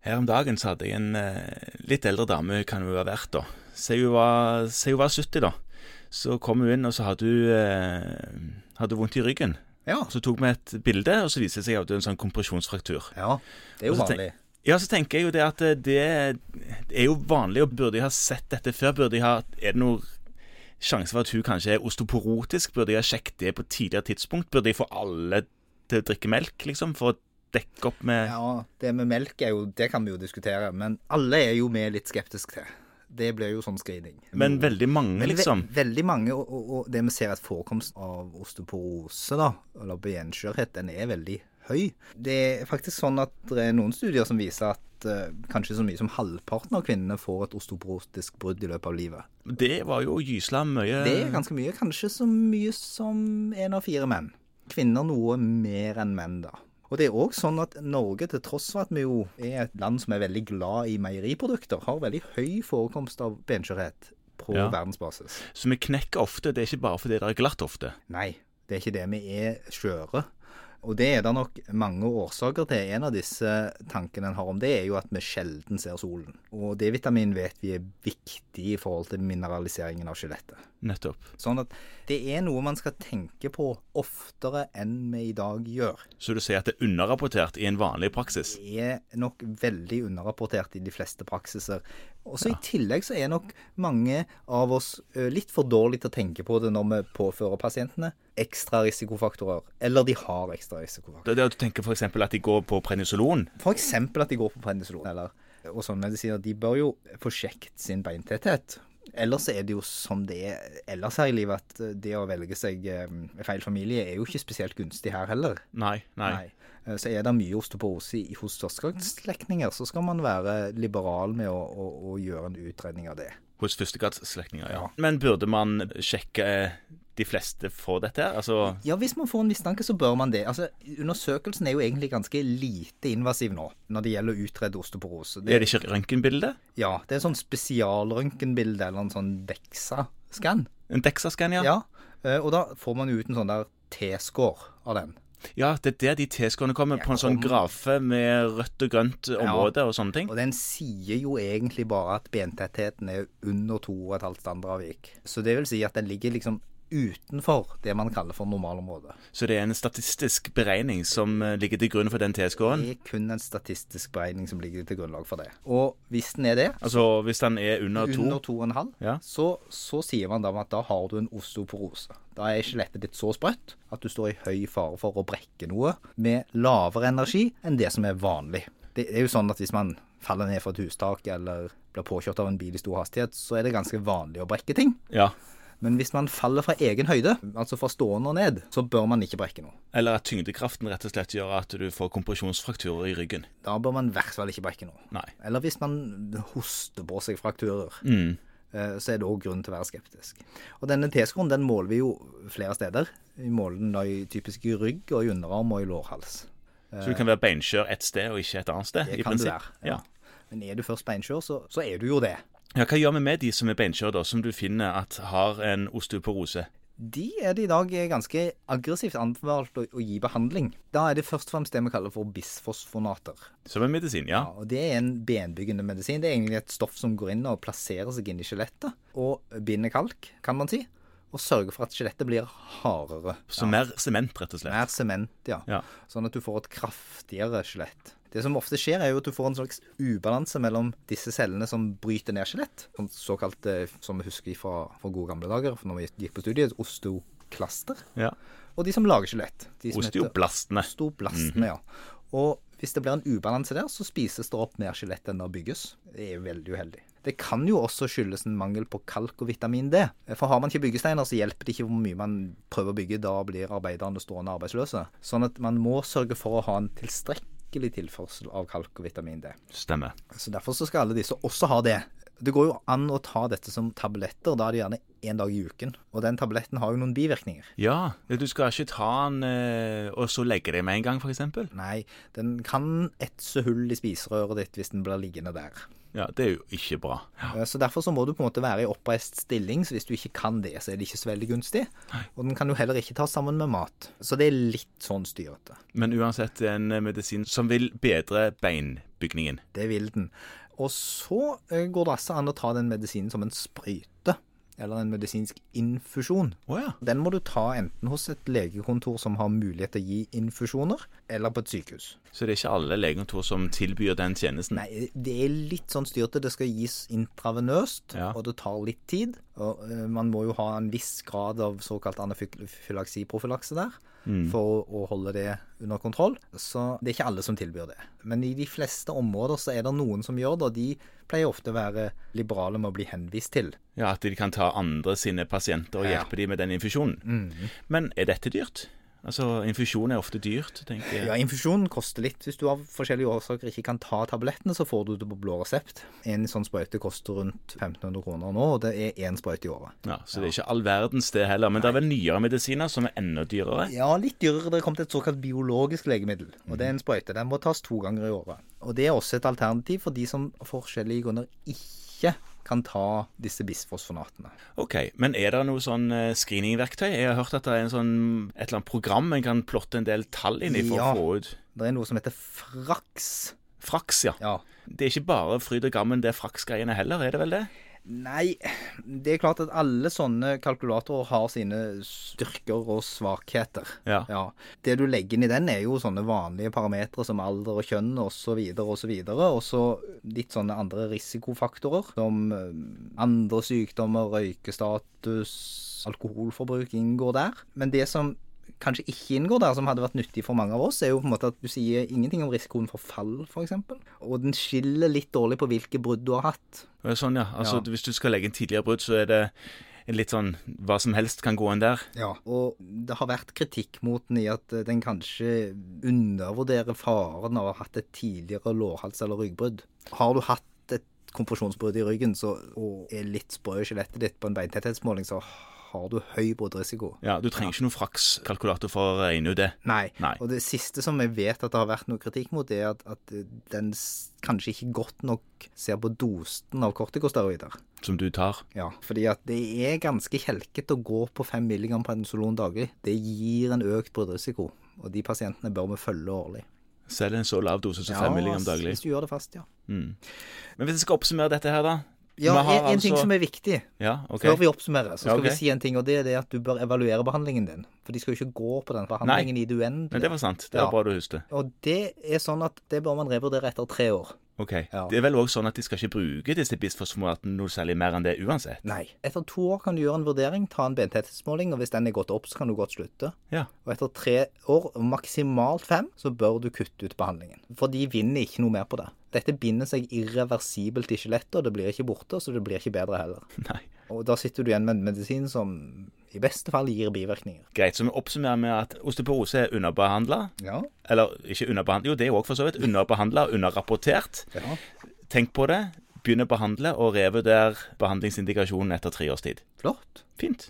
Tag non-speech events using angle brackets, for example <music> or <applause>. Her om dagen så hadde jeg en eh, litt eldre dame, hun kan hun ha vært da. Si hun var, si hun var 70 da. Så kom hun inn, og så hadde hun, eh, hadde hun vondt i ryggen. Ja. Så tok vi et bilde, og så viste det seg at hun hadde en sånn kompresjonsfraktur. ja. Det er jo Og så tenk- vanlig. Ja, så tenker jeg jo det at eh, det er jo vanlig, og burde jeg ha sett dette før? Burde jeg ha, er det noen sjanse for at hun kanskje er osteoporotisk? Burde jeg ha sjekket det på et tidligere tidspunkt? Burde jeg få alle til å drikke melk, liksom, for å dekke opp med Ja, det med melk er jo Det kan vi jo diskutere, men alle er jo vi litt skeptiske til. Det blir jo sånn screening. Men veldig mange, Men ve- liksom. veldig mange, og, og, og det vi ser at forekomst av osteoporose, da, eller benskjørhet, den er veldig høy. Det er faktisk sånn at det er noen studier som viser at eh, kanskje så mye som halvparten av kvinnene får et osteoporotisk brudd i løpet av livet. Det var jo å gysla mye Det er ganske mye, kanskje så mye som én av fire menn. Kvinner noe mer enn menn, da. Og det er òg sånn at Norge, til tross for at vi jo er et land som er veldig glad i meieriprodukter, har veldig høy forekomst av benskjørhet på Ja. verdensbasis. Så vi knekker ofte. Det er ikke bare fordi det er glatt ofte. Nei, det er ikke det. Vi er skjøre. Og det er det nok mange årsaker til. En av disse tankene en har om det, er jo at vi sjelden ser solen. Og D-vitamin vet vi er viktig i forhold til mineraliseringen av skjelettet. Nettopp. Sånn at det er noe man skal tenke på oftere enn vi i dag gjør. Så du sier at det er underrapportert i en vanlig praksis. Det er nok veldig underrapportert i de fleste praksiser. Og så i tillegg så er nok mange av oss ø, litt for dårlige til å tenke på det når vi påfører pasientene ekstra risikofaktorer. Eller de har ekstra risikofaktorer. Det er det at du tenker f.eks. at de går på prednisolon. F.eks. at de går på prednisolon eller og sånne medisiner. De bør jo få sjekket sin beintetthet. Ellers er det jo som det er ellers her i livet, at ø, det å velge seg ø, feil familie er jo ikke spesielt gunstig her heller. Nei, nei. Nei. Eh, Så er det mye osteoporose i- hos førstegangsslektninger, så skal man være liberal med å, å, å gjøre en utredning av det. Hos førstegradsslektninger, ja. Ja. Men burde man sjekke eh, de fleste for dette? her? Altså Ja, hvis man får en mistanke, så bør man det. Altså, Undersøkelsen er jo egentlig ganske lite invasiv nå, når det gjelder å utrede osteoporose. Er det ikke røntgenbilde? ja, det er en sånn spesialrøntgenbilde eller en sånn DEXA-skann. En Dexascan, ja. Ja. eh, Og da får man jo ut en sånn der T-score av den. Ja, det er der de T-skårene kommer, Ja, på en sånn om- grafe med rødt og grønt område og sånne ting. <laughs> Og den sier jo egentlig bare at bentettheten er under 2,5 standardavvik. Så det vil si at den ligger liksom utenfor det man kaller for normalområdet. Så det er en statistisk beregning som eh, ligger til grunn for den T-skåren. Det er kun en statistisk beregning som ligger til grunnlag for det. Og hvis den er det, Altså hvis den er under to under 2,5, Ja. så, så sier man da at da har du en osteoporose. Da er skjelettet ditt så sprøtt at du står i høy fare for å brekke noe med lavere energi enn det som er vanlig. Det er jo sånn at hvis man faller ned fra et hustak eller blir påkjørt av en bil i stor hastighet, så er det ganske vanlig å brekke ting. Ja. Men hvis man faller fra egen høyde, altså fra stående og ned, så bør man ikke brekke noe. Eller at tyngdekraften rett og slett gjør at du får kompresjonsfrakturer i ryggen. Da bør man i hvert fall ikke brekke noe. Nei. Eller hvis man hoster på seg frakturer, Mm. eh, så er det òg grunn til å være skeptisk. Og denne T-skroen den måler vi jo flere steder. Vi måler den da i typisk i rygg og i underarm og i lårhals. Så du kan være beinskjør et sted og ikke et annet sted? Eh. Det i kan du prinsipp. være. Ja. Men er du først beinskjør, så, så er du jo det. ja, Hva gjør vi med de som er beinskjør, da, som du finner at har en osteoporose? De er det i dag ganske aggressivt anbefalt å, å gi behandling. Da er det først og fremst det vi kaller for bisfosfonater. Som en medisin, ja. Ja, og Det er en benbyggende medisin. Det er egentlig et stoff som går inn og plasserer seg inn i skjelettet. Og binder kalk, kan man si. Og sørger for at skjelettet blir hardere. Så mer sement, rett og slett. Mer sement, ja. Ja. Sånn at du får et kraftigere skjelett. Det som ofte skjer, er jo at du får en slags ubalanse mellom disse cellene som bryter ned skjelett. Sånn Såkalt, eh, som vi husker fra, fra gode gamle dager, for når vi gikk på studiet, osteoklaster. Ja. Og de som lager skjelett. de som heter- Osteoblastene. Osteoblastene, ja. Og hvis det blir en ubalanse der, så spises det opp mer skjelett enn det bygges. Det er jo veldig uheldig. Det kan jo også skyldes en mangel på kalk og vitamin D. For har man ikke byggesteiner, så hjelper det ikke hvor mye man prøver å bygge. Da blir arbeiderne stående arbeidsløse. Sånn at man må sørge for å ha en tilstrekkelig tilførsel av kalk og vitamin D. Stemmer. Så derfor så skal alle disse også ha det. Det går jo an å ta dette som tabletter, da er det gjerne én dag i uken. Og den tabletten har jo noen bivirkninger. Ja, du skal ikke ta den eh, og så legge deg med en gang, f.eks.? Nei, den kan etse hull i spiserøret ditt hvis den blir liggende der. Ja, det er jo ikke bra. Eh, Så Derfor så må du på en måte være i oppreist stilling, så hvis du ikke kan det, så er det ikke så veldig gunstig. Og den kan jo heller ikke tas sammen med mat. Så det er litt sånn styrete. Men uansett en eh, medisin som vil bedre beinbygningen. Det vil den. Og så eh, går det altså an å ta den medisinen som en sprøyte, eller en medisinsk infusjon. Å ja. Den må du ta enten hos et legekontor som har mulighet til å gi infusjoner, eller på et sykehus. Så det er ikke alle legekontor som tilbyr den tjenesten? Nei, det er litt sånn styrte. Det skal gis intravenøst, Ja. og det tar litt tid. Og eh, man må jo ha en viss grad av såkalt anafylaksiprofylakse der for å, å holde det under kontroll. Så det er ikke alle som tilbyr det. Men i de fleste områder så er det noen som gjør det, og de pleier ofte å være liberale med å bli henvist til. Ja, At de kan ta andre sine pasienter og Ja. Mhm. hjelpe dem med den infusjonen. Men er dette dyrt? Altså, Infusjon er ofte dyrt, tenker jeg. Ja, infusjonen koster litt. Hvis du av forskjellige årsaker ikke kan ta tablettene, så får du det på blå resept. En sånn sprøyte koster rundt 1500 kroner nå, og det er én sprøyte i året. Ja, så det er ikke all verdens det heller. Men det er vel nyere medisiner som er enda dyrere? Ja, litt dyrere. Det er kommet et såkalt biologisk legemiddel. Og det er en sprøyte. Den må tas to ganger i året. Og det er også et alternativ for de som av forskjellige grunner ikke kan ta disse bisfosfonatene. Ok, Men er det noe sånn eh, screeningverktøy? Jeg har hørt at det er en sånn, et eller annet program en kan plotte en del tall inn i for Ja. å få ut Det er noe som heter fraks. Fraks, ja. Ja. Det er ikke bare fryd og gammen, det er fraksgreiene heller, er det vel det? Nei, det er klart at alle sånne kalkulatorer har sine styrker og svakheter. Ja. Det du legger inn i den, er jo sånne vanlige parametere som alder og kjønn osv. Og så videre, og så videre, og så litt sånne andre risikofaktorer som eh, andre sykdommer, røykestatus, alkoholforbruk inngår der. Men det som kanskje ikke inngår der, som hadde vært nyttig for mange av oss, er jo på en måte at du sier ingenting om risikoen for fall, f.eks. Og den skiller litt dårlig på hvilke brudd du har hatt. Og det er Sånn, ja. Altså, Ja. Hvis du skal legge inn tidligere brudd, så er det litt sånn hva som helst kan gå inn der. Ja. Og det har vært kritikk mot den i at eh, den kanskje undervurderer faren av å ha hatt et tidligere lårhals- eller ryggbrudd. Har du hatt et kompresjonsbrudd i ryggen så, og er litt sprø i skjelettet ditt på en beintetthetsmåling, så har du høy bruddrisiko. Ja, Du trenger ikke noen frakskalkulator for å regne ut det. Nei. Nei. Og det siste som jeg vet at det har vært noe kritikk mot, det er at, at eh, den s- kanskje ikke godt nok ser på dosen av kortikosteroider. Som du tar. Ja, fordi at det er ganske kjelket å gå på 5 mg prednisolon daglig. Det gir en økt bruddrisiko, og de pasientene bør vi følge årlig. Selv en så lav dose som 5 mg daglig. Hvis du gjør det fast, ja. Men hvis jeg skal oppsummere dette her, da? Ja, Vi har en, en ting som er viktig Ja, ok. før vi oppsummerer, så skal Ja, ok. vi si en ting, og det er det at du bør evaluere behandlingen din. For de skal jo ikke gå på den behandlingen i det Men uendelige. det var sant. Det var Ja. bra du husket. Og det er sånn at det bør man revurdere etter tre år. Ok. Ja. Det er vel òg sånn at de skal ikke bruke disse bisfosformatene noe særlig mer enn det uansett. Nei. Etter to år kan du gjøre en vurdering, ta en bentetthetsmåling, og hvis den er gått opp, så kan du godt slutte. Ja. Og etter tre år, maksimalt fem, så bør du kutte ut behandlingen. For de vinner ikke noe mer på det. Dette binder seg irreversibelt i skjelettet, og det blir ikke borte, så det blir ikke bedre heller. <laughs> Nei. Og da sitter du igjen med en medisin som i beste fall gir bivirkninger. Greit, så vi oppsummerer med at osteoporose er underbehandla. Ja. Eller ikke underbehandla, jo det òg for så vidt. Underbehandla, underrapportert. Tenk på det. Begynn å behandle, og revurder behandlingsindikasjonen etter tre års tid. Flott. Fint.